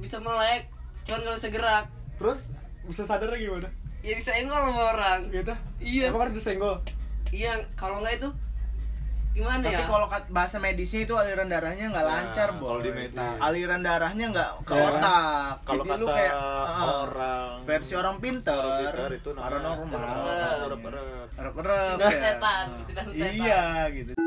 bisa melek cuman gak bisa gerak Terus bisa sadar gimana? ya disenggol sama orang Gitu? Iya. Emang harus disenggol? iya kalau nggak itu gimana Tapi ya kalau kat- bahasa medisnya itu aliran darahnya nggak Nah, lancar, boy. kalau di meta. Iya. Aliran darahnya nggak ke Ya. otak. Kalau Jadi lu kata kayak, ah, orang versi orang pinter, Orang pinter itu namanya paranormal. paranormal. Orang-orang. Rep-rep, Tindakan ya. setan, tindakan setan. Iya gitu.